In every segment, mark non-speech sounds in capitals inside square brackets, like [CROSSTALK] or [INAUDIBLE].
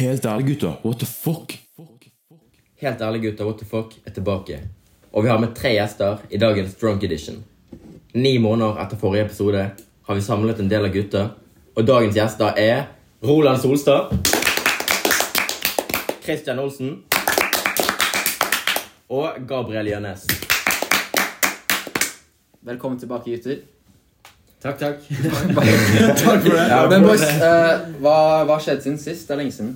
Helt ærlig, gutter. What the fuck? Helt ærlig, gutter, what the fuck er tilbake. Og vi har med tre gjester i dagens Drunk Edition. Ni måneder etter forrige episode har vi samlet en del av gutta. Og dagens gjester er Roland Solstad. Christian Olsen. Og Gabriel Gjønnes. Velkommen tilbake, gutter. Takk, takk. [LAUGHS] Takk for det. Men boys, eh, hva, hva skjedde siden sist? Det er lenge siden.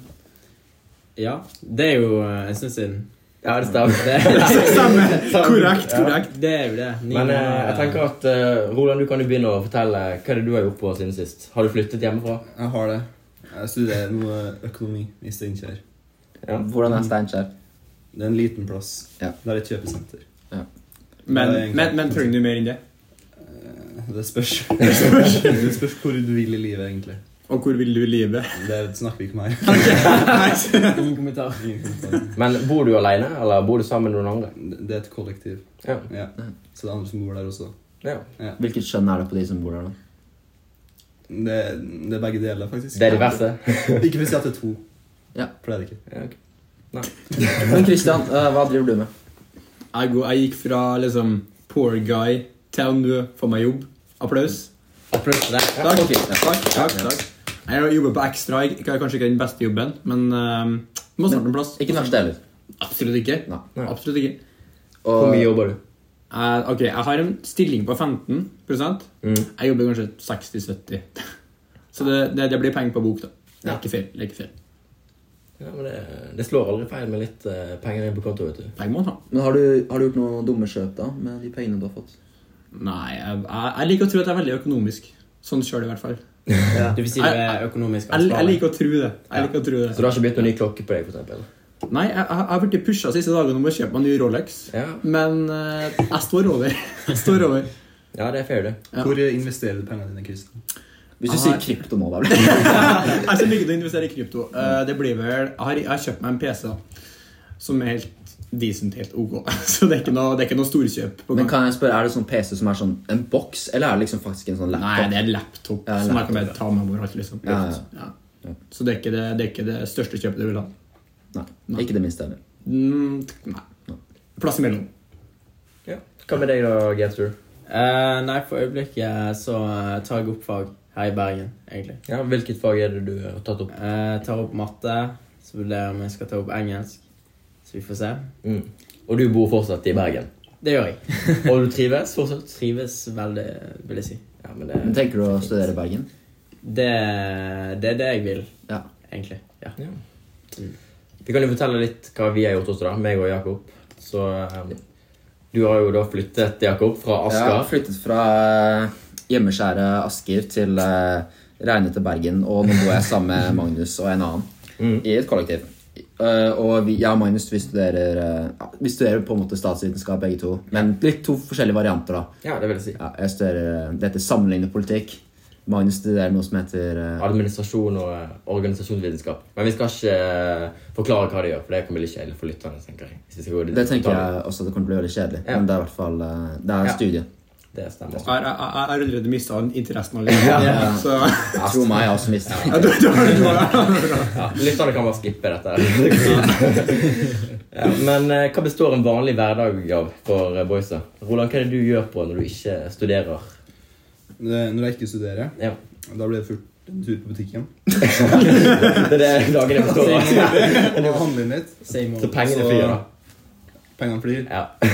Ja, det er jo eh, en stund siden. Ja, det stemmer. [LAUGHS] [LAUGHS] Det, det Korrekt, korrekt. er jo det. Ni Men eh, måneder. jeg tenker at eh, Roland, du kan jo begynne å fortelle hva er det du har gjort på siden sist. Har du flyttet hjemmefra? Jeg har det. Jeg studerer noe økonomi i Steinkjer. Hvordan er Steinkjer? Det er en liten plass. Ja. Det er et kjøpesenter. Ja. Ja, Men, det er egentlig- men, men trenger du mer enn det? Eh, Det spørs. [LAUGHS] Det spørs, det spørs hvor du vil i livet, egentlig. Og hvor vil du i livet? Det snakker vi ikke om her. [LAUGHS] Ingen kommentar. Ingen kommentar. Men bor du alene, eller bor du sammen med noen andre? Det er et kollektiv. Ja. Ja. Så det er andre som bor der også. ja. Hvilket kjønn er det på de som bor der, da? Det, det er begge deler, faktisk. Det er diverse. Ikke hvis jeg at det er to. Ja. For det er det ikke. Ja, ok. Men Christian, eh, hva driver du med? Jeg, går, jeg gikk fra liksom poor guy til nå får meg jobb. Applaus. [LAUGHS] Applaus til deg. Takk. Ok, ja. Takk, takk, takk. Jeg jobber på Extra. Jeg har kanskje ikke den beste jobben, men eh, må snart en plass. Ikke den verste heller. Absolutt ikke. Nei. Absolutt ikke. Hvor Og mye jobber du? Eh, ok, Jeg har en stilling på 15 Jeg jobber kanskje 60-70 Så det, det, det blir penger på bok, da. Det er ikke feil. det er ikke feil Ja, men det, det slår aldri feil med litt eh, penger inn på konto, vet du. Penger må man ha. men har du, har du gjort noen dumme kjøp da, med de pengene du har fått? Nei, jeg, jeg, jeg liker å tro at jeg er veldig økonomisk. Sånn sjøl, i hvert fall. Du vil si du er økonomisk Jeg, jeg ansvarlig. liker å tro det. Jeg liker å Så tro det. du har ikke byttet noen ny klokke på deg, for eksempel? Nei, jeg, jeg jeg har blitt pusha siste dagene om å kjøpe meg en ny Rolex. Ja. Men eh, jeg står over. Jeg står [LAUGHS] over. ja, det er fair, det. Ja. Hvor investerer du pengene dine, Kristian? Hvis du Jeg sier har- krypto nå, da vel? Jeg er så lykkelig til å investere i krypto. Eh, det blir vel Jeg har, jeg har kjøpt meg en PC da, som er helt decent, helt ok. [LAUGHS] Så det er ikke noe, det er ikke noe storkjøp. På Men gang. kan jeg spørre, er det sånn PC som er sånn en boks, eller er det liksom faktisk en sånn laptop? Nei, det er en laptop Ja, en som jeg kan bare ta med overalt. liksom Ja, ja. Ja. Så det er, ikke det, det er ikke det største kjøpet du vil ha. Nei, ikke det minste heller. Mm, t- nei. Plass imellom. Ja. Hva med deg, da, Gamester? Eh, nei, for øyeblikket så eh, tar jeg opp fag her i Bergen, egentlig. Ja, hvilket fag er det du har tatt opp? Jeg tar opp matte, så vurderer jeg om jeg skal ta opp engelsk. Så vi får se. Mm. Og du bor fortsatt i Bergen? Det gjør jeg. Og du trives fortsatt? Trives veldig, vil jeg si. Ja, men det... Men tenker du å studere i Bergen? Det, det er det jeg vil, Ja. egentlig. Ja. Mm. Vi kan jo fortelle litt hva vi har gjort også, da. Meg og Jakob. Så eh, du har jo da flyttet, Jakob, fra Jeg har Asker. flyttet fra eh, hjemmeskjære Asker til eh, regnete Bergen, og nå bor jeg sammen med Magnus og en annen Mm. i et kollektiv. Eh, og vi, jeg og Magnus vi studerer, eh, ja, vi studerer på en måte statsvitenskap begge to, men litt to forskjellige varianter. da. Ja, det vil jeg si. Ja, jeg studerer eh, det heter sammenlignende politikk. Magnus studerer noe som heter eh, Administrasjon og eh, organisasjonsvitenskap. Men vi skal ikke eh, forklare hva de gjør, for det kan bli litt kjedelig for lytterne. tenker jeg. Hvis vi skal gå dit- Det tenker jeg også at det kommer til å bli veldig kjedelig, Ja. men det er i hvert fall eh, det Ja. er en studie. Det stemmer. Jeg har jeg- jeg har allerede mista interessen allerede. Ja. [LAUGHS] Så Tro meg, jeg har også mistet ja, du, du, har det [LAUGHS] bra. Ja, lytterne kan bare skippe dette. her. ja, men eh, hva består en vanlig hverdag av for eh, boysa? Roland, hva er det du gjør på når du ikke studerer? Det- Når jeg ikke studerer, Ja. da blir det fort en tur på butikken. Det er det dagen jeg består av. Og handler inn litt. Same old. Så pengene flyr, da. Pengene flyr. Ja.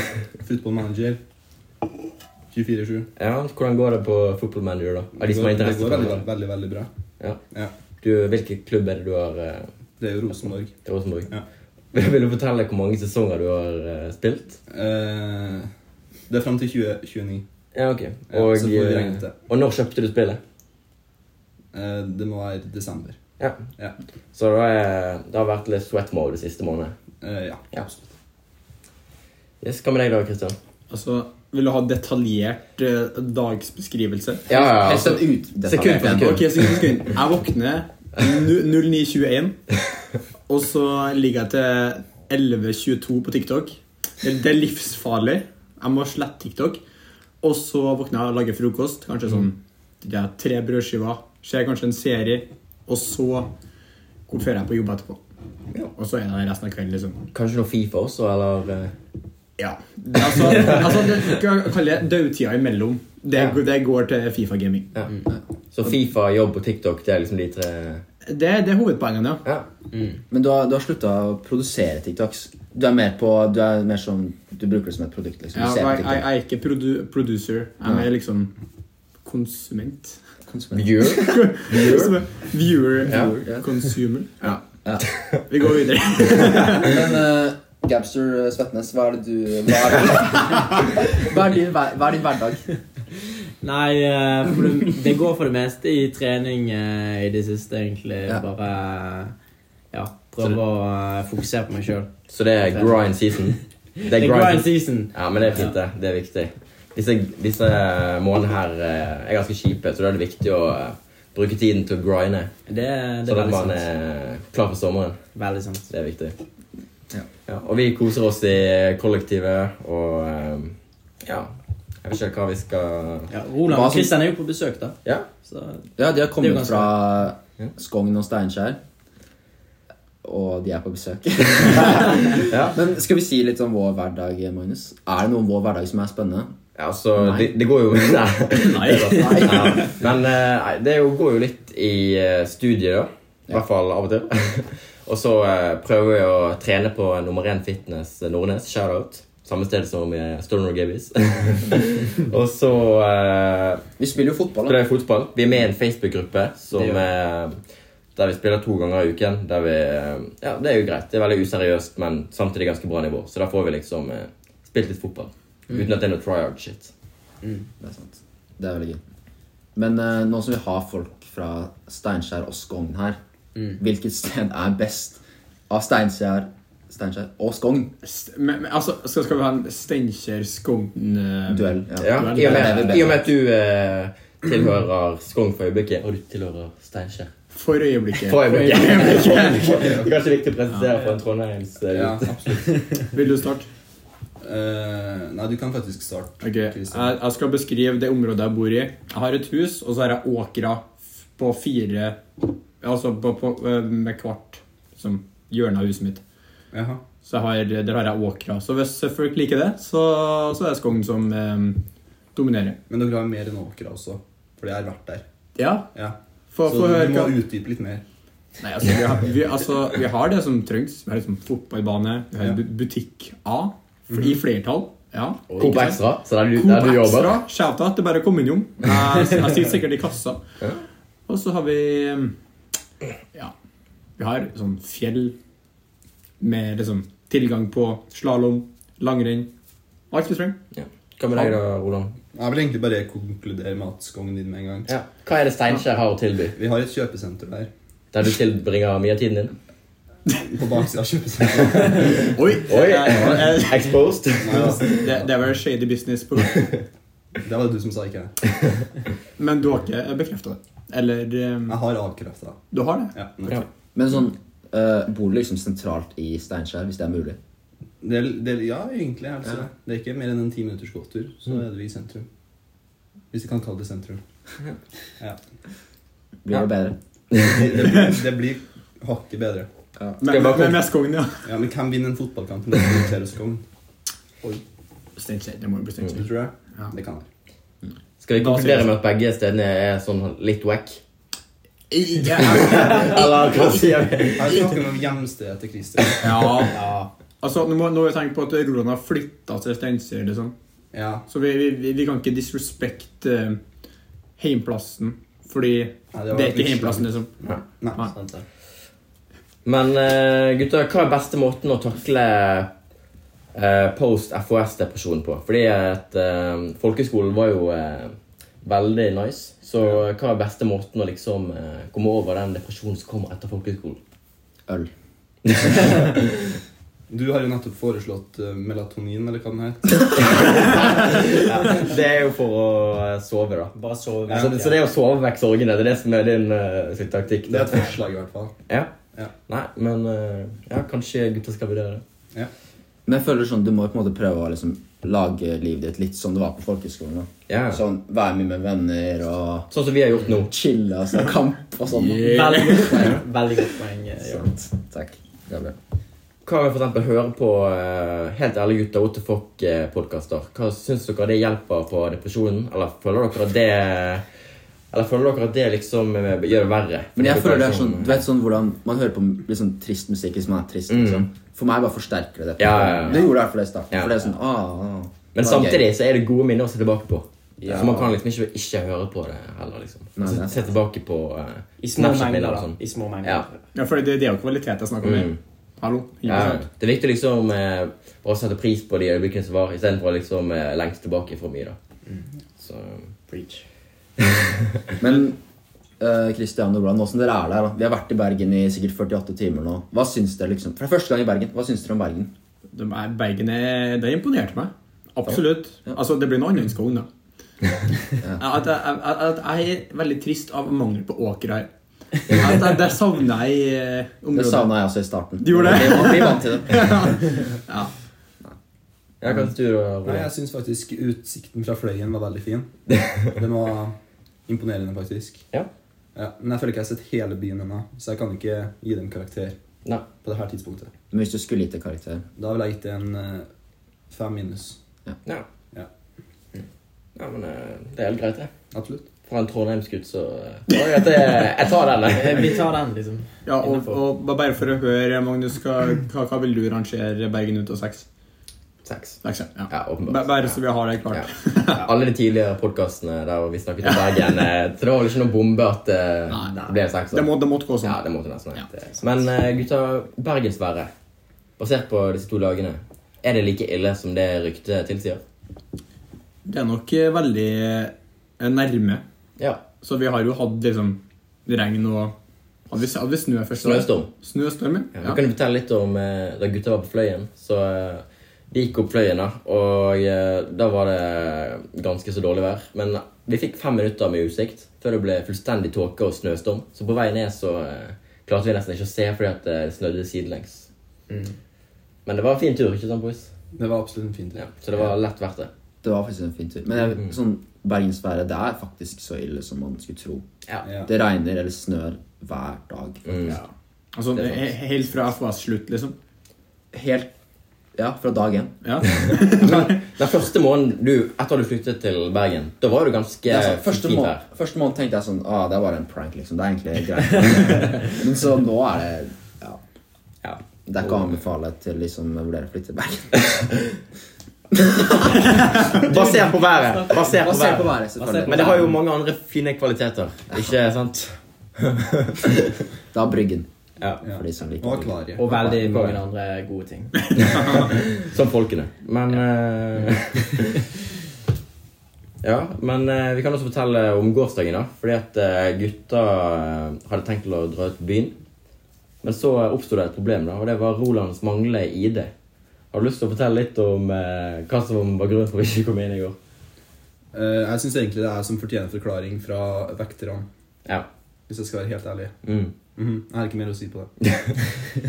Football manager. 24-7. Ja, Hvordan går det på Football Manager, da? Av de som har det interesse går for veldig, det? veldig, veldig bra. Ja. Ja. Du, hvilken klubb er det du har eh, Det er jo Rosenborg. til Rosenborg? Ja. [LAUGHS] Vil du fortelle hvor mange sesonger du har eh, spilt? Eh, det er fram til 2029. Ja, ok. Ja, Og, så får vi eh, regnet det. og når kjøpte du spillet? Eh, det må være desember. Ja. Ja. Så da er, det har vært litt sweat mode de siste månedene. Eh, ja. Ja. Yes, hva med deg, da, Christian? Altså, Vil du ha detaljert eh, dagsbeskrivelse? Ja, ja, Helt altså, sånn ut. [LAUGHS] Sekund for sekund. Ok, sekund, sekund. [LAUGHS] Jeg våkner nu- 09.21, og så ligger jeg til 11.22 på TikTok. Det det er livsfarlig. Jeg må slette TikTok. Og så våkner jeg og lager frokost. Kanskje sånn ja, tre brødskiver. Ser kanskje en serie. Og så hvorfor er jeg på jobb etterpå. Og så er det resten av kvelden, liksom. Kanskje noe Fifa også, eller eh, Ja. Det er Altså, altså det, du kan kalle det dødtida imellom. Det, det går til Fifa-gaming. ja. Mm. Så Fifa, jobb og TikTok, det er liksom de tre Det, det er hovedpoengene, ja. Ja. Mm. Men du har, du har slutta å produsere TikToks. Du er mer på Du, er mer som, du bruker det som et produkt. liksom. Du ja ser på jeg, jeg, TikTok. jeg er ikke produ producer. Jeg er mer liksom konsument. Konsument. Viewer. Viewer. Viewer. Ja. Viewer. Consumer. Ja. Ja. Vi går videre. Men eh, Gabster eh, Svetnes, hva er det du Hva er, [LAUGHS] hva er, din, hver- hva er din hverdag? Nei, eh, for det, det går for det meste i trening eh, i det siste, egentlig. Ja. Bare eh, ja, prøve å eh, fokusere på meg sjøl. Så det er grind season. Det Det er grind season. Ja, men det er fint, det. Det er viktig. Disse, disse månedene her eh, er ganske kjipe, så da er det viktig å eh, bruke tiden til å grinde. Det, det er Sånn at veldig man sant. er klar for sommeren. Veldig sant. Det er viktig. Ja. og vi koser oss i kollektivet og eh, Ja. Jeg vet ikke hva vi skal Ja, Roland Hva og som- Kristian er jo på besøk, da. Ja. Så Ja, De har Det er jo kommet ganske fra Skogn og Steinkjer. Og de er på [LAUGHS] besøk. Ja. [LAUGHS] Men skal vi si litt om vår hverdag, Magnus? Er det noe om vår hverdag som er spennende? Ja, altså, Nei. det, det [LAUGHS] går jo Nei. [LAUGHS] Ja. Men eh, nei, det er jo, går jo litt i eh, studiet, da. I hvert fall av og til. [LAUGHS] og så eh, prøver jeg å trene på nummer én fitness eh, Nordnes. Shout-out. Samme sted som uh, Stoner Gabbies. [LAUGHS] og så eh, Vi spiller jo fotball. da spiller jeg fotball. Vi er med i en Facebook-gruppe som, Det eh, der vi spiller to ganger i uken. Der vi, eh, ja, det er jo greit. Det er veldig useriøst, men samtidig ganske bra nivå. Så da får vi liksom eh, spilt litt fotball. Uten at det er noe tryhard-shit. Det er sant. Det er veldig gøy. Men eh, nå som vi har folk fra Steinkjer og Skogn her, Mm. hvilket sted er best av Steinkjer, Steinkjer og Skogn? St- Men, men, altså, skal, skal vi ha en eh, Steinkjer-Skogn-duell? Duell. Ja, Duell. i og med, Bedre, i og med at du eh, tilhører Skogn for øyeblikket. Og du tilhører Steinkjer. For øyeblikket. [LAUGHS] For øyeblikket. det er kanskje viktig å presisere for en Trondheims eh, Ja, gutt. absolutt. Vil du starte? Eh, nei, du kan faktisk starte. Ok, jeg, Christian. jeg skal beskrive det området jeg bor i. Jeg har et hus, og så har jeg åkra f- på fire Altså på, på, eh, med kvart som hjørne av huset mitt. Jaha. Så jeg har, der har jeg åkra. Så hvis folk liker det, så, så er det Skogn som eh, dominerer. Men dere har mer enn åkra også, fordi jeg har vært der. Ja, Ja. få Så få høre du må hva utdype litt mer. Nei, altså, vi, har, vi, altså, vi har det som trengs. Vi har liksom fotballbane, vi har Ja. Mhm. bu- butikk A for, i flertall. Ja. Coop Extra, så der du, der du Coop jobber. Extra. Shout-out. Det er bare å komme innom. Jeg, jeg sitter sikkert i kassa. Og så har vi mm, Ja. Vi har sånn fjell med liksom tilgang på slalåm, langrenn, alt vi trenger. Ja. Hva med deg da, Roland? Jeg vil egentlig bare konkludere med at Skogn din med en gang. Ja. Hva er det Steinkjer har å tilby? Vi har et kjøpesenter der. Der du tilbringer mye av tiden din? På baksida av [LAUGHS] kjøpesenteret. Oi! Oi! Eh, eh, Exposed. Nei, altså, Det, det er vel shady business på Det var det du som sa, ikke jeg. Men du har ikke bekrefta det? Eller eh, Jeg har avkrefta. Du har det? Ja, ok. Ja. Men sånn, eh, bor du liksom sentralt i Steinkjer, hvis det er mulig? Det, er- det, er- ja, egentlig. er det så det. Det er ikke mer enn en ti minutters gåtur, så Mm. er du i sentrum. Hvis vi kan kalle det sentrum. Ja. Blir det bedre? Det, det, blir- det blir hakket bedre. Men, men med Skogn, ja. Ja, Men hvem vinner en fotballkamp når det er Skogn? Steinkjer. Det må jo Det bli Steinkjer. tror jeg. Ja. Det kan jeg. Skal vi konkludere med at begge stedene er sånn litt wack? Ja, ja. Eller hva sier vi? Her snakker vi om hjemstedet til Christer. ja. [LAUGHS] Altså, nå må, nå må vi tenke på at Roland har flytta til Steinkjer, liksom. Ja. Så vi, vi, vi- vi kan ikke disrespect eh, heimplassen, fordi Nei, var det, er ikke Russland. heimplassen, liksom. Nei. Nei. Sant det. Men eh, gutter, hva er beste måten å takle eh, post-FOS-depresjon på? Fordi at eh, folkeskolen var jo eh, veldig nice. Så hva er beste måten å liksom eh, komme over den depresjonen som kommer etter folkeskolen? Øl. Du har jo nettopp foreslått eh, melatonin, eller hva den heter. [LAUGHS] Det er jo for å eh, sove, da. bare sove. Så, det- så det er å sove vekk sorgene. Det er det som er din eh, sin taktikk. Det Da. er et forslag, i hvert fall. Ja. Ja. Nei, men eh, ja, kanskje gutter skal vurdere det. Ja. Men jeg føler sånn, du må jo på en måte prøve å liksom lage livet ditt litt som det var på folkehøyskolen. da. Ja. Sånn Sånn, være mye med venner og som vi har gjort nå. chille og altså, kamp og sånn. da. Veldig godt poeng. Veldig godt poeng. eh, Jørgen. Takk. Gabriel. Hva med for eksempel høre på eh, Helt ærlig gutter, what the fuck-podkaster? Hva syns dere det hjelper på depresjonen? Eller føler dere at det Eller føler dere at det liksom eh, gjør det verre? Men jeg Fordi føler det er dere sånn, du vet sånn hvordan man hører på litt sånn trist musikk hvis man er trist. liksom. For meg bare forsterker det det. Mm. Ja, ja, ja. Det gjorde det i hvert fall i starten. Ja. For det er sånn, ah, ah. Men det var gøy. samtidig så er det gode minner å se tilbake på. Ja. Så man kan liksom ikke ikke høre på det heller, liksom. Nei, det se, er se tilbake på uh, I små mengder, da. I små mengder. sånn. Ja. Ja, for det, det er jo kvalitet jeg snakker om. her. Hallo? Ja, ikke sant? det er viktig liksom eh, å sette pris på de øyeblikkene som var, istedenfor å liksom eh, lengte tilbake for mye. da. Mm. Så Preach. Men eh, Christian og Blad, nå som dere er der, da. vi har vært i Bergen i sikkert 48 timer nå. Hva syns dere liksom? For det er første gang i Bergen, hva syns dere om Bergen? De er, Bergen er, det imponerte meg. Absolutt. Altså, det blir noe annet enn Skogn, da. [LAUGHS] at, jeg, at, at jeg er veldig trist av mangel på åker her. At jeg, det savner jeg i eh, Det området. savna jeg også i starten. Du gjorde det? Man blir vant [LAUGHS] til det. Ja, hva syns du, da, Roland? Nei, jeg syns faktisk utsikten fra fløyen var veldig fin. Den var imponerende, faktisk. Ja. Ja, men jeg føler ikke jeg har sett hele byen ennå, så jeg kan ikke gi dem karakter Nei. på det her tidspunktet. Men hvis du skulle gitt en karakter Da ville jeg gitt det en eh, fem minus. Ja. ja, Ja. men eh, det er helt greit, det. Absolutt. Fra en trondheimsgutt, så eh, det er greit, det. Jeg Eh, tar den. jeg. Vi tar den, liksom. [LAUGHS] Ja, og, Innenfor. og ba- bare for å høre, Magnus, hva, hva, hva vil du rangere Bergen ut av seks? Seks. Seks, ja. Ja, åpenbart. Ba- Bare så vi har det Ja. klart. Alle de tidligere podkastene der vi snakket om Bergen, eh, så det var vel ikke noe bombe at eh, Nei, nei. det ble seks. Det, må, det måtte gå sånn. Ja, det måtte nesten Ja. være. det. Men eh, gutta, bergensværet, basert på disse to lagene, er det like ille som det ryktet tilsier? Det er nok eh, veldig eh, nærme. Ja. Så vi har jo hatt liksom regn og Hadde vi, hadde vi snø først? da? Snøstorm. Snøstorm, ja. Du kan jo fortelle litt om eh, da gutta var på Fløyen. Så eh, de gikk opp Fløyen, da, og eh, da var det ganske så dårlig vær. Men vi fikk fem minutter med utsikt før det ble fullstendig tåke og snøstorm. Så på vei ned så eh, klarte vi nesten ikke å se fordi at eh, det snødde sidelengs. Men det var en fin tur, ikke sant, boys? Det var absolutt en fin tur. Ja, så det var lett verdt det. Det var faktisk en fin tur. Men jeg, Mm. sånn, bergensværet det er faktisk så ille som man skulle tro. Ja. Mm. Ja. Det regner eller snør hver dag. Ja. Altså, Det er sant. he- helt fra FOS slutt, liksom. Helt ja, fra dag én. Ja. Den første måneden du, etter du flyttet til Bergen, da var du ganske Det er sånn, første, fint må vær. første måned tenkte jeg sånn ah, Det er bare en prank, liksom. Det er egentlig greit. Men så nå er det ja, Ja. Det er ikke å anbefale til de som vurderer å flytte til Bergen. Basert på været. Basert på Basert på været. været, selvfølgelig. Men det har jo mange andre fine kvaliteter, ikke sant? Da Bryggen, Ja. Ja. for de som Nå liker er Bryggen. klare. Og veldig mange andre gode ting. [LAUGHS] Som folkene. Men eh, [LAUGHS] Ja, men eh, vi kan også fortelle om gårsdagen, da. Fordi at eh, gutta eh, hadde tenkt til å dra ut på byen. Men så eh, oppsto det et problem, da, og det var Rolands manglende ID. Har du lyst til å fortelle litt om eh, hva som var grunnen for at vi ikke kom inn i går? Eh, jeg syns egentlig det er som fortjener forklaring fra vekterne, Ja. hvis jeg skal være helt ærlig. Mm. Mhm, Jeg har ikke mer å si på det.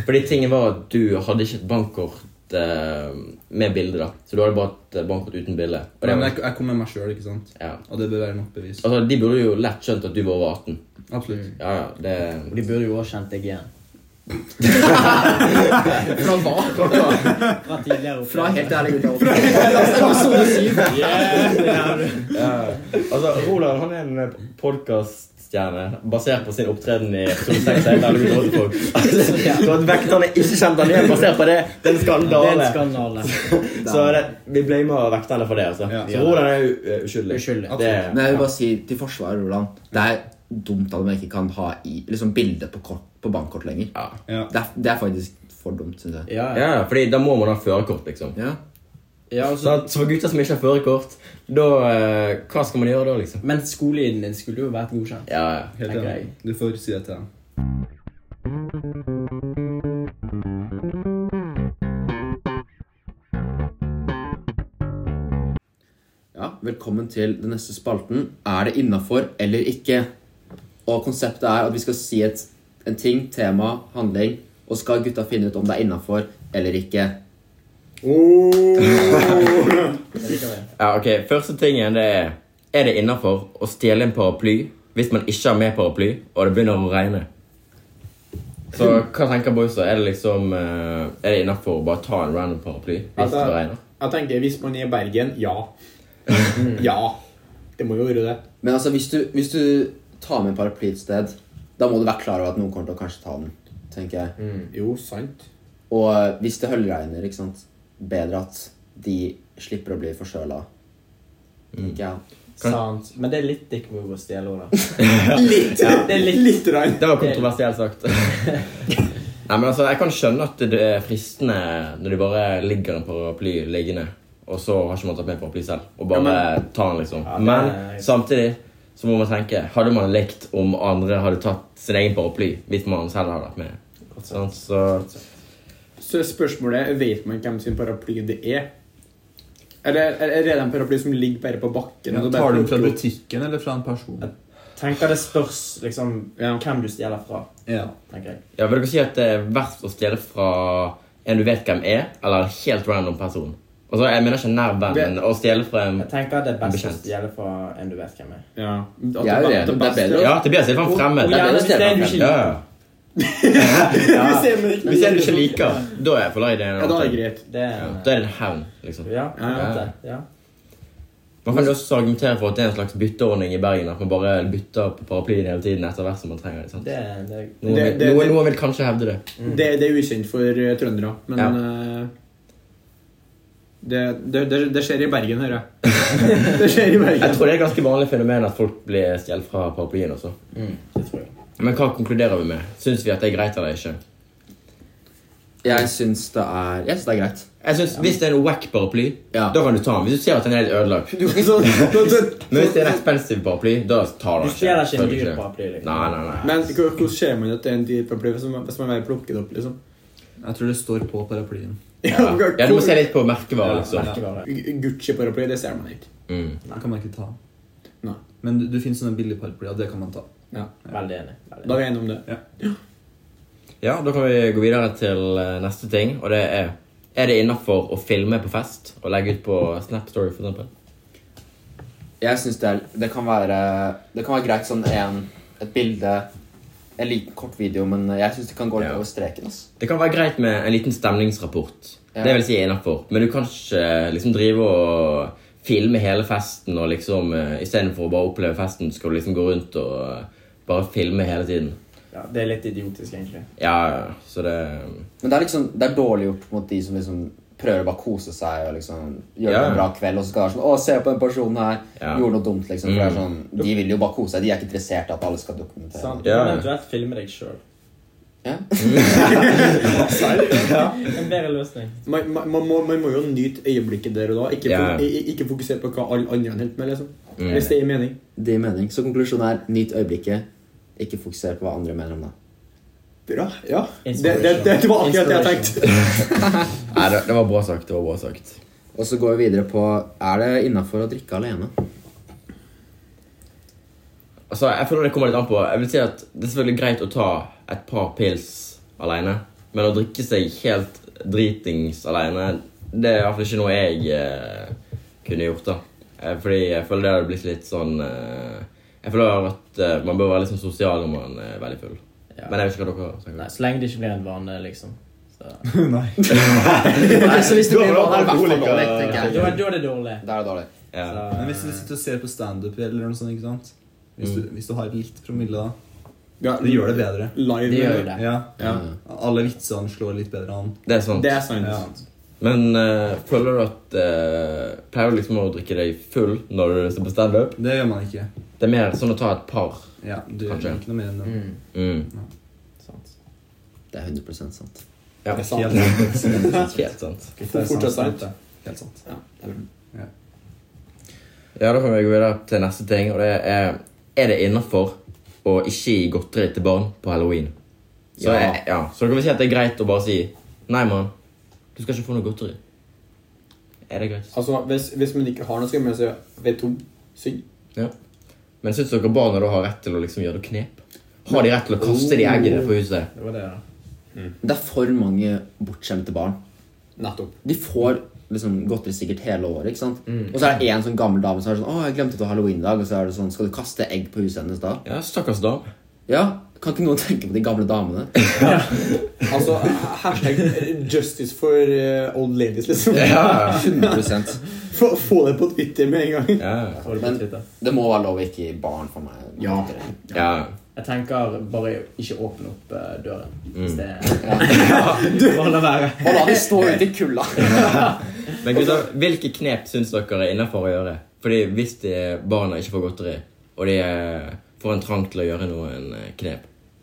Fordi tingen var at du hadde ikke et bankkort eh, med bilde, da. Så du hadde bare et eh, bankkort uten bilde. Og det Men var, jeg, jeg kom med meg sjøl, ikke sant? ja. Og det bør være nok bevis. Altså, De burde jo lett skjønt at du var over 18. Absolutt. Mm. Ja, ja, det... Og de burde jo også kjent deg igjen. Fra hva? Fra tidligere Fra opplevelser. helt ærlig gutta. Episode syv. Altså, Roland han er en podkaststjerne basert på sin opptreden i episode 6. Jeg vet ikke [LAUGHS] hvordan folk. Så at vekterne ikke kjente han igjen basert på det, det er en Det er en skandale. skandale. [LAUGHS] Så det, vi blamer vekterne for det. altså. Ja. Så Roland er jo eh, uskyldig. Uskyldig. Det, Men jeg vil bare si til forsvaret, Roland. Det er dumt at man ikke kan ha i, liksom, bilde på, kort, på bankkort lenger. Ja. Ja. Det, er, det er faktisk for dumt, syns jeg. Ja, ja. ja, fordi da må man ha førerkort, liksom. Ja. ja og så- Så at for gutter som ikke har førerkort, da eh, Hva skal man gjøre da, liksom? Men skoleiden din skulle jo vært godkjent. Ja, ja. Helt tenker enig. Du får si det til dem. Ja, velkommen til den neste spalten. Er det innafor eller ikke? Og konseptet er at vi skal si et, en ting, tema, handling, og skal gutta finne ut om det er innafor eller ikke. ja ok, Første tingen det er Er det innafor å stjele en paraply hvis man ikke har med paraply, og det begynner å regne? Så hva tenker boysa? Er det liksom eh, Er det innafor å bare ta en random paraply hvis det Altså- regner? Jeg tenker, hvis man er i Bergen, ja. Mm. Ja. Det må jo være det. Men altså, hvis du, hvis du tar med en paraply et sted, da må du være klar over at noen kommer til å kanskje ta den, tenker jeg. Jo, sant. Og eh, hvis det høljregner, ikke sant, bedre at de slipper å bli forkjøla. Tenker jeg. Sant. Men det er litt dick move å stjele òg, da. Litt! Det er litt Litt rann. Det var kontroversielt [LAUGHS] sagt. Nei, men altså, Jeg kan skjønne at det er fristende når de bare ligger en paraply liggende, og så har ikke man tatt med paraply selv, og bare tar den, liksom. Ja, det men er- samtidig så må man tenke Hadde man likt om andre hadde tatt sin egen paraply hvis man selv hadde vært med? Sånn, så Så spørsmålet er, vet man hvem sin paraply det er? Eller eller er det en paraply som ligger bare på bakken? og så bare Tar du den fra plukker opp? butikken eller fra en person? Tenker det spørs liksom Ja. hvem du stjeler fra, Ja. tenker jeg. Ja, Vil dere si at det er verst å stjele fra en du vet hvem er, eller en helt random person? Altså, Jeg mener ikke nær venn, men å stjele fra en Jeg tenker det er best å Bekjent. stjele fra en du vet hvem er. Ja. At Jeg er det- at uenig, det er beste- bedre. Ja, Tobias er faen fremmed. Og gjerne det hvis det er stjeler du fra ikke Ja, liker. ja. Hvis jeg du ikke liker, sånn- da er jeg fornøyd. i en Ja, da er annen det ting. greit. Det er Ja, en, Da er det en hevn, liksom. ja, Ja, ja. det, ja. Man kan jo også argumentere for at det er en slags bytteordning i Bergen. At man bare bytter på paraplyen hele tiden etter hvert som man trenger det. sant? Det, er- det, er- Noen, Det- vil- det- noen, noen vil kanskje hevde det. Det, det er ukjent for eh, trøndere, men eh, det, det, det, det skjer i [LAUGHS] Bergen, hører jeg. det skjer i Jeg Bergen. tror det er et ganske vanlig fenomen at folk blir stjålet fra paraplyen også. mm, det tror jeg. Men hva konkluderer vi med? Syns vi at det er greit eller ikke? Jeg syns det er Jeg syns det er greit. Jeg synes, Hvis det er en wack paraply, Ja. da kan du ta den. Hvis du ser at den er helt ødelagt. [LAUGHS] Men hvis det er en expensive paraply, da tar du Du den stjeler ikke en Selvfølgelig dyr paraply. liksom. Nei, nei, nei. Men hvor- hvordan ser man at det er en dyr paraply hvis man hvis man bare plukker det opp, liksom? Jeg tror det står på paraplyen. [LAUGHS] Ja. Ja, Du må se litt på merkevarer, liksom. Merkevare. Gu- Gucci-paraply, det ser man ikke. Mm. Det kan man ikke ta. Nei. Men du, du finner sånne billige paraplyer, det kan man [LAUGHS] ta. Veldig enig. Veldig Da enig. er vi enige om det. Ja, da kan vi gå videre til eh, neste ting, og det er Er det innafor å filme på fest og legge ut på Snap Story, for eksempel? Jeg synes det, er, det, kan være, det kan være greit sånn en, et bilde En liten kort video, men jeg syns det kan gå litt Ja. over streken. ass. Det kan være greit med en liten stemningsrapport. Ja. Det vil si innafor. Men du kan ikke eh, liksom drive og filme hele festen og liksom eh, Istedenfor å bare oppleve festen, skal du liksom gå rundt og eh, bare filme hele tiden. Ja, det er litt idiotisk, egentlig. Ja, ja, så det eh, Men det er liksom, det er dårlig gjort mot de som liksom prøver å bare kose seg og liksom gjøre Ja. en bra kveld. Og så skal det være sånn, å, se på den personen her, Ja. Mm. gjorde noe dumt, liksom. For det er sånn, De vil jo bare kose seg. De er ikke interessert i at alle skal dokumentere. Sant? Du Ja. kan eventuelt filme deg sjøl. [LAUGHS] Ja. En bedre løsning. Man, man, man, må, man må jo nyte øyeblikket der og da. Ikke, Ja. fo- i- i- ikke fokusere på hva alle andre holder på med, liksom. Mm. Hvis det gir mening. Det gir mening. Så konklusjonen er nyt øyeblikket. Ikke fokuser på hva andre mener om det. Bra. Ja. Det, det, Inspiration. det, det var akkurat det jeg [LAUGHS] tenkte. Nei, det, det var bra sagt. Det var bra sagt. Og så går vi videre på Er det innafor å drikke [LAUGHS] alene? Altså, jeg føler det kommer litt an på. Jeg vil si at Det er selvfølgelig greit å ta et par pils alene, men å drikke seg helt dritings alene, det er i hvert fall ikke noe jeg eh, kunne gjort. da. Eh, Fordi jeg føler det hadde blitt litt sånn eh, Jeg føler at eh, man bør være litt sånn sosial når man er veldig full. Ja. Men jeg vet ikke hva dere tenker. Nei, så lenge det ikke blir en vane, liksom. Så. Nei, så hvis det Da blir var vanlig, er det i hvert fall alkoholiker. dårlig, Da, tenker da jeg. er det dårlig. Da er det dårlig. Ja. Så, Men hvis du sitter og ser på standup eller noe sånt, ikke sant? Hvis Mm. du, hvis du har litt promille, da. Ja, Det gjør det bedre. Live. Det gjør jo eller? det. Ja. Ja. Alle vitsene slår litt bedre an. Det er sant. Det er sant. Ja. Men eh, føler du at eh, Pleier du liksom å drikke deg full når du ser på standup? Det gjør man ikke. Det er mer sånn å ta et par. Ja, du Kanskje. gjør ikke noe mer enn det. Mm, Mm. sant. Det er 100 sant. Ja. Det er sant. [LAUGHS] Helt sant. Helt sant. Det er Fortsatt sant. det. Helt sant. Ja, det er bra. Ja, Da kan vi gå videre til neste ting, og det er Er det innafor å ikke gi godteri til barn på halloween? Så, Ja. jeg- ja. så dere vil si at det er greit å bare si Nei, mann, du skal ikke få noe godteri. Er det greit? Altså, hvis, hvis man ikke har noe, skal man si ved tom. Syng. Men syns dere barna da har rett til å liksom gjøre noe knep? Har de rett til å kaste de eggene på huset? Oh, Det var det, da. Det er for mange bortskjemte barn. Nettopp. De får liksom godteri sikkert hele året. ikke sant? Og så er det en sånn gammel dame som er sånn 'Å, jeg glemte å ta halloween i dag.' Og så er det sånn 'Skal du kaste egg på huset hennes da?' Ja, stakkars dame. Ja, kan ikke noen [LAUGHS] tenke på de gamle damene? Altså, [LAUGHS] hashtag justice for eh, old ladies, liksom. [LAUGHS] 100 [LAUGHS] Få, få det på Twitter med en gang. Ja, Får det på Men- Twitter. Det må være lov å ikke gi barn for meg. Ja. ja. Jeg tenker bare ikke åpne opp eh, døren. Mm. Hvis det [LAUGHS] Bare la være. Og la de [LAUGHS] stå ute i kulda. Men gutter, hvilke knep syns dere er innafor å gjøre? Fordi hvis de barna ikke får godteri, og de eh, får en trang til å gjøre noen eh, knep,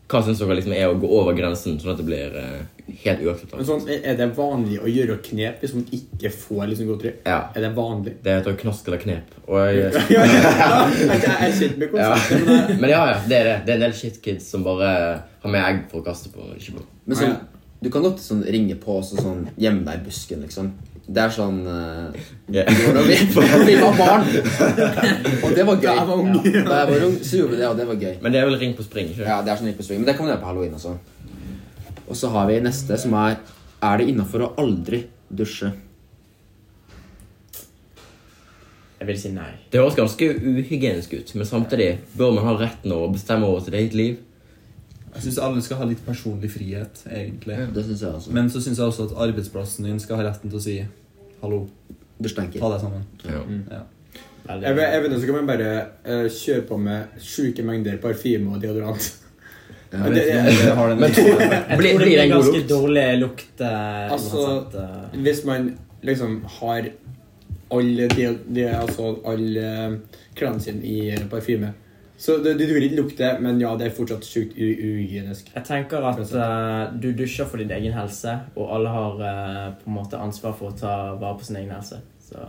hva syns dere liksom er å gå over grensen, sånn at det blir eh, helt Men uakseptabelt? sånn, er- Er det vanlig å gjøre knep hvis man ikke får liksom godteri? Ja. Er det vanlig? Det heter knask eller knep. Og jeg, Ja, ja, ja. [LAUGHS] Jeg jeg er kjent med konseptet. men [LAUGHS] jeg- men ja, ja, det er det. Det er en del shitkids som bare eh, har med egg for å kaste på. og Ikke på. Men sånn, du kan godt sånn, ringe på og så sånn, gjemme deg i busken, liksom. Det er sånn eh, Ja. Når vi, når vi [LAUGHS] var barn. Og det var gøy. Da jeg var ung. Da jeg var ung, så gjorde vi det, og det var gøy. Men det er vel ring på spring? ikke? Ja, det er sånn litt på swing, men det kan man gjøre på halloween også. Og så har vi neste, som er Er det innafor å aldri dusje? Jeg vil si nei. Det høres ganske uhygienisk ut, men samtidig bør man ha retten å bestemme over sitt eget liv. Jeg syns alle skal ha litt personlig frihet, egentlig. Det syns jeg også. Men så syns jeg også at arbeidsplassen din skal ha retten til å si hallo, Dusjtenker. ta deg sammen. Ja. Veldig- Jeg vet- jeg vet ikke, så kan man bare eh, kjøre på med sjuke mengder parfyme og deodorant. Jeg vet ikke om dere har den Jeg Blir- tror det blir blir den god ganske lukt? dårlig lukt eh, Altså- uansett. eh. Hvis man liksom har alle, de, de, altså alle klærne sine i parfyme Så det, det duer ikke lukte, men ja, det er fortsatt sjukt u- uhygienisk. Jeg tenker at eh, du dusjer for din egen helse, og alle har eh, på en måte ansvar for å ta vare på sin egen helse. Så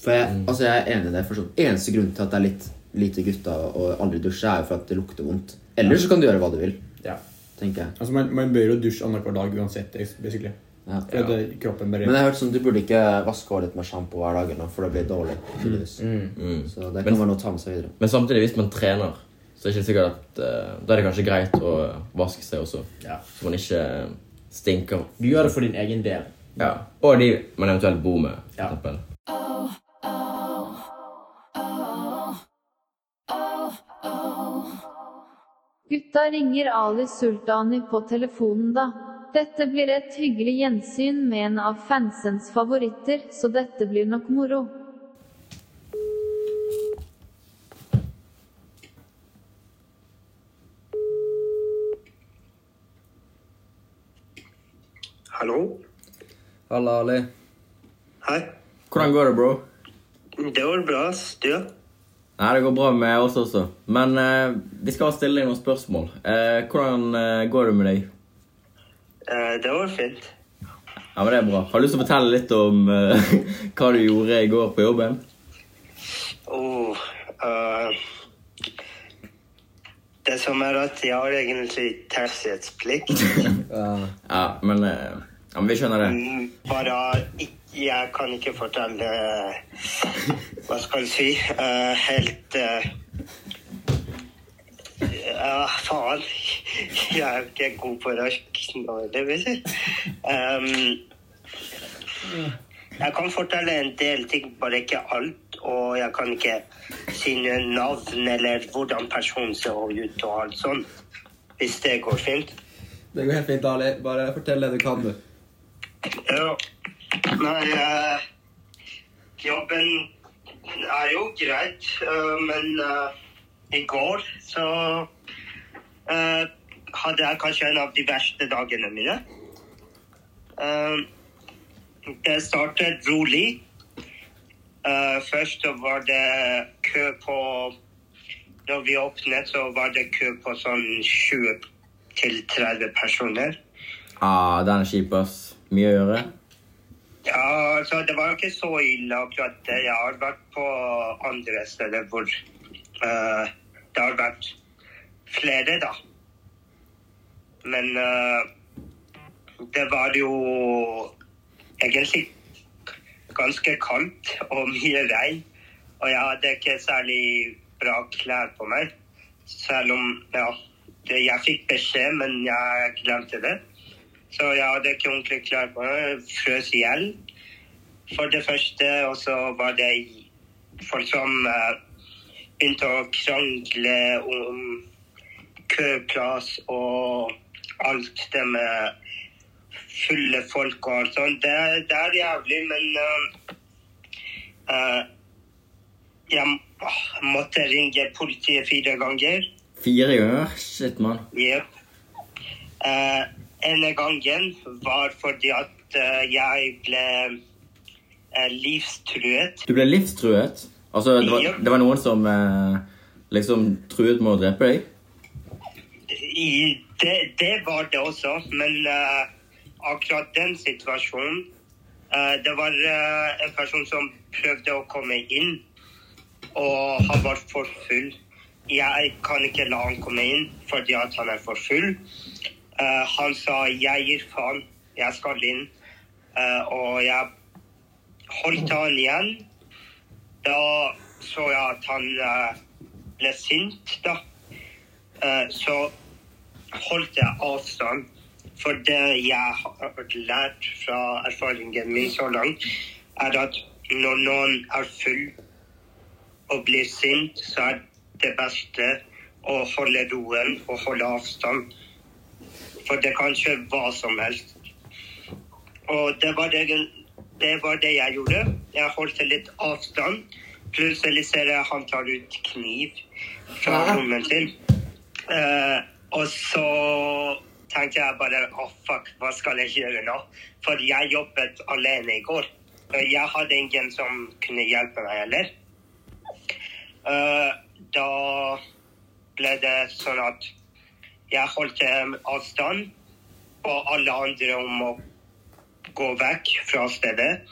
For jeg, altså jeg er enig i det. For sånn, eneste grunn til at det er litt lite gutta og aldri dusje, er jo for at det lukter vondt. Ellers så kan du gjøre hva du vil, ja. tenker jeg. Altså, man, man bør jo dusje annenhver dag uansett, basically. Ja. For at det- kroppen Men jeg bare har hørt sånn, du burde ikke vaske håret ditt med sjampo hver dag, eller noe, for det blir dårlig. tydeligvis. Så det kan være noe å ta med seg videre. Men samtidig, hvis man trener, så er det ikke sikkert at eh, Da er det kanskje greit å vaske seg også, Ja. så man ikke eh, stinker. Du gjør det for din egen del. Ja. Og de man eventuelt bor med, for Ja. eksempel. Gutta ringer Ali Sultani på telefonen da. Dette blir et hyggelig gjensyn med en av fansens favoritter, så dette blir nok moro. Hallo? Halla, Ali. Hei. Hvordan går det, bro? Det var bra, ass. Du? Nei, Det går bra med oss også. Men eh, vi skal stille deg noen spørsmål. Eh, hvordan eh, går det med deg? Eh, det var fint. Ja, men det er bra. Har du lyst til å fortelle litt om eh, [LAUGHS] hva du gjorde i går på jobben? Oh, eh, det som er at jeg har egentlig taushetsplikt. Ja, men, eh, ja, men vi skjønner det. Mm, Bare ikk- jeg kan ikke fortelle eh, Hva skal jeg si? eh, helt eh, Ja, faen. Jeg er jo ikke god på norsk nå, det vil si. Ehm, jeg kan fortelle en del ting, bare ikke alt. Og jeg kan ikke si noe navn eller hvordan personen ser ut og alt sånt. Hvis det går fint. Det går helt fint, Ali. Bare fortell det du kan, du. Ja. Nei, eh, jobben er jo greit, eh, men eh, i går så eh, hadde jeg kanskje en av de verste dagene mine. Eh, det startet rolig. Eh, først så var det kø på Når vi åpnet, så var det kø på sånn 20 til 30 personer. Ah, den er kjip, ass. Mye å gjøre. Ja, altså, det var jo ikke så ille akkurat det. Jeg har vært på andre steder hvor eh, det har vært flere, da. Men eh, det var jo egentlig ganske kaldt og mye regn. Og jeg hadde ikke særlig bra klær på meg. Selv om, ja, det, jeg fikk beskjed, men jeg glemte det. Så jeg hadde ikke ordentlig klær på meg. Frøs i hjel, for det første. Og så var det folk som eh, begynte å krangle om køplass og alt det med fulle folk og alt sånt. Det, er- det er jævlig, men eh, eh, Jeg må- måtte ringe politiet fire ganger. Fire ganger? Shit, mann. Yep. Eh, ene gangen var fordi at eh, jeg ble eh, livstruet. Du ble livstruet? Altså, det var, Yep. det var noen som eh, liksom truet med å drepe deg? I, det, det var det også, men eh, akkurat den situasjonen eh, Det var eh, en person som prøvde å komme inn, og han var for full. Jeg kan ikke la han komme inn fordi at han er for full. Eh, han sa 'jeg gir faen, jeg skal inn', Eh, og jeg holdt han igjen. Da så jeg at han eh, ble sint, da. Eh, så holdt jeg avstand. For det jeg har lært fra erfaringen min så langt, er at når noen er full og blir sint, så er det beste å holde roen og holde avstand. For det kan skje hva som helst. Og det var det, det var det jeg gjorde. Jeg holdt litt avstand. Plutselig ser jeg han tar ut kniv fra rommet sin. Eh, og så tenkte jeg bare å fuck, hva skal jeg gjøre nå? For jeg jobbet alene i går. Og Jeg hadde ingen som kunne hjelpe meg heller. Eh, da ble det sånn at jeg holdt eh, avstand og alle andre om å gå vekk fra stedet.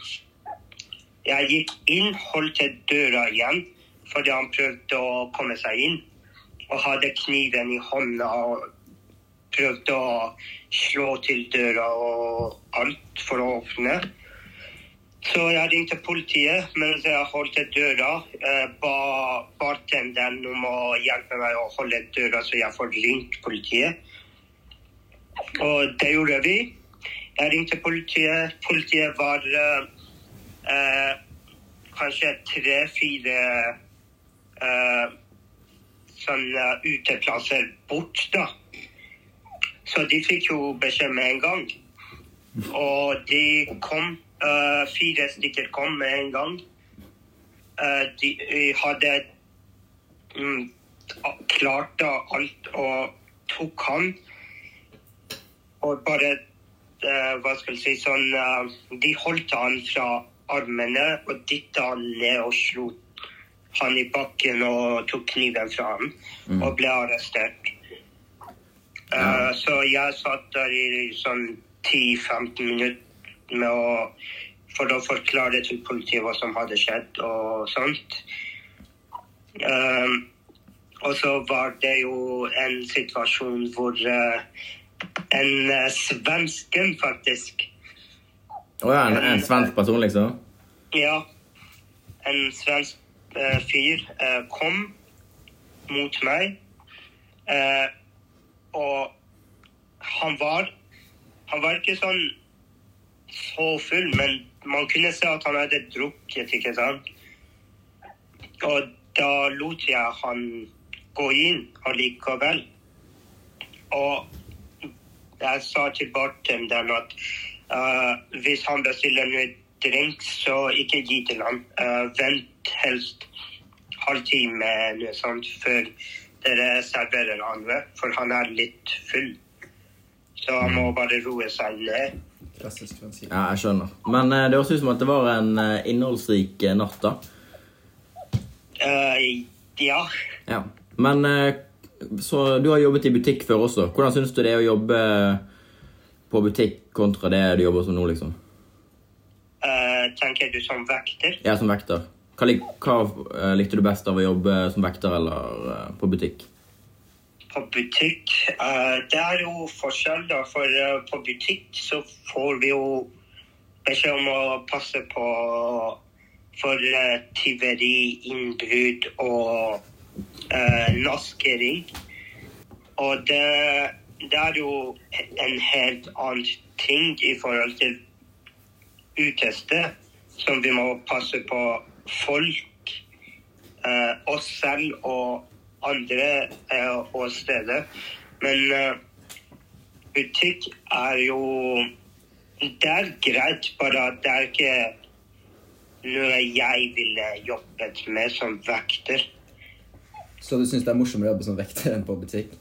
Jeg gikk inn, holdt til døra igjen, fordi han prøvde å komme seg inn. Og hadde kniven i hånda og prøvde å slå til døra og alt for å åpne. Så jeg ringte politiet mens jeg holdt til døra. eh, Ba bartenderen om å hjelpe meg å holde døra, så jeg får ringt politiet. Og det gjorde vi. Jeg ringte politiet. Politiet var eh, eh, kanskje tre-fire eh, sånn eh, uteplasser bort, da. Så de fikk jo beskjed med en gang. Og de kom. eh, fire stykker kom med en gang. Eh, de, eh, hadde mm, klart da alt og tok han og bare eh, Hva skal jeg si sånn eh, De holdt han fra armene og dytta han ned og slo han i bakken og tok kniven fra ham og ble arrestert. Eh, Så jeg satt der i sånn 10-15 minutter med å, for å forklare til politiet hva som hadde skjedd og sånt. Eh, og så var det jo en situasjon hvor eh, en eh, svensken faktisk Å ja, en, en svensk person, liksom? Ja, en svensk eh, fyr eh, kom mot meg, eh, og han var Han var ikke sånn så full, men man kunne se at han hadde drukket, ikke sant? Og da lot jeg han gå inn allikevel. Og jeg sa til bartenderen at eh, hvis han bestiller noe drink, så ikke gi til ham. Eh, vent helst halvtime eller sånt før dere serverer han, vet, for han er litt full. Så han må bare roe seg ned. Klassisk svensk. Ja, jeg skjønner. Men eh, det høres ut som at det var en eh, innholdsrik eh, natt, da. Eh, ja. Ja. Men eh, så du har jobbet i butikk før også. Hvordan syns du det er å jobbe på butikk kontra det du jobber som nå, liksom? Eh, tenker du som vekter? Jeg er som vekter. Hva, lik, hva eh, likte du best av å jobbe som vekter eller eh, på butikk? på butikk. Eh, det er jo forskjell, da. For eh, på butikk så får vi jo beskjed om å passe på for eh, tyveri, innbrudd og eh, naskering. Og det, det er jo en helt annen ting i forhold til utested, som vi må passe på folk, eh, oss selv og andre eh, og steder. Men eh, butikk er jo Det er greit, bare at det er ikke noe jeg ville jobbet med som vekter. [LAUGHS] Så du syns det er morsommere å jobbe som vekter enn på butikk?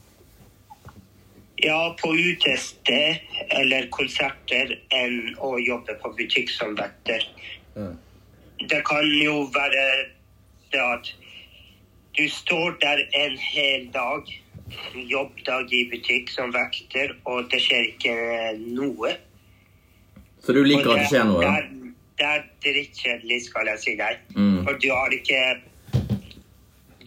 Ja, på utested eller konserter enn å jobbe på butikk som vekter. Ja. Det kan jo være det at du står der en hel dag, jobbdag i butikk som vekter, og det skjer ikke noe. Så du liker at det skjer noe? Der, der drittkjedelig, skal jeg si deg. Mm. For du har ikke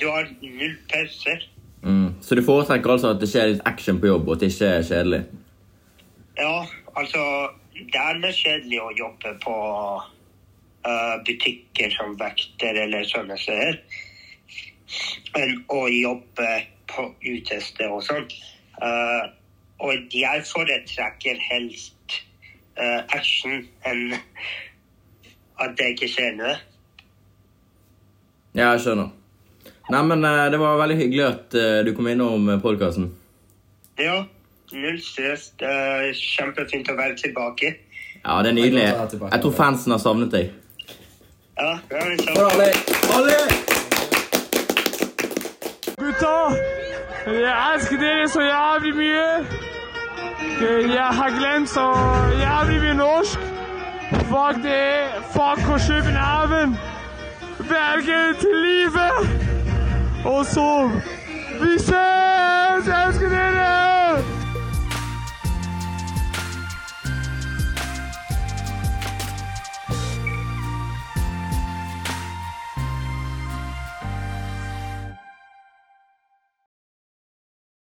Du har null pauser. Mm. Så du foretrekker altså at det skjer litt action på jobb, og at det ikke er kjedelig? Ja, altså Det er mer kjedelig å jobbe på eh, butikker som vekter eller sånne steder enn å jobbe på utested og sånn. Eh, og jeg foretrekker helst eh, action enn at det ikke skjer noe. Ja, jeg skjønner. Nei, men eh, det var veldig hyggelig at eh, du kom innom podkasten. Ja, null stress. Det er kjempefint å være tilbake. Ja, det er nydelig. Jeg kan ta tilbake. Jeg tror fansen har savnet deg. Ja, det er liksom- Gutter, jeg elsker dere så jævlig mye. Jeg har glemt så jævlig mye norsk. Fuck det. Fuck og København. Bergen til livet. Og så Vi ses! Jeg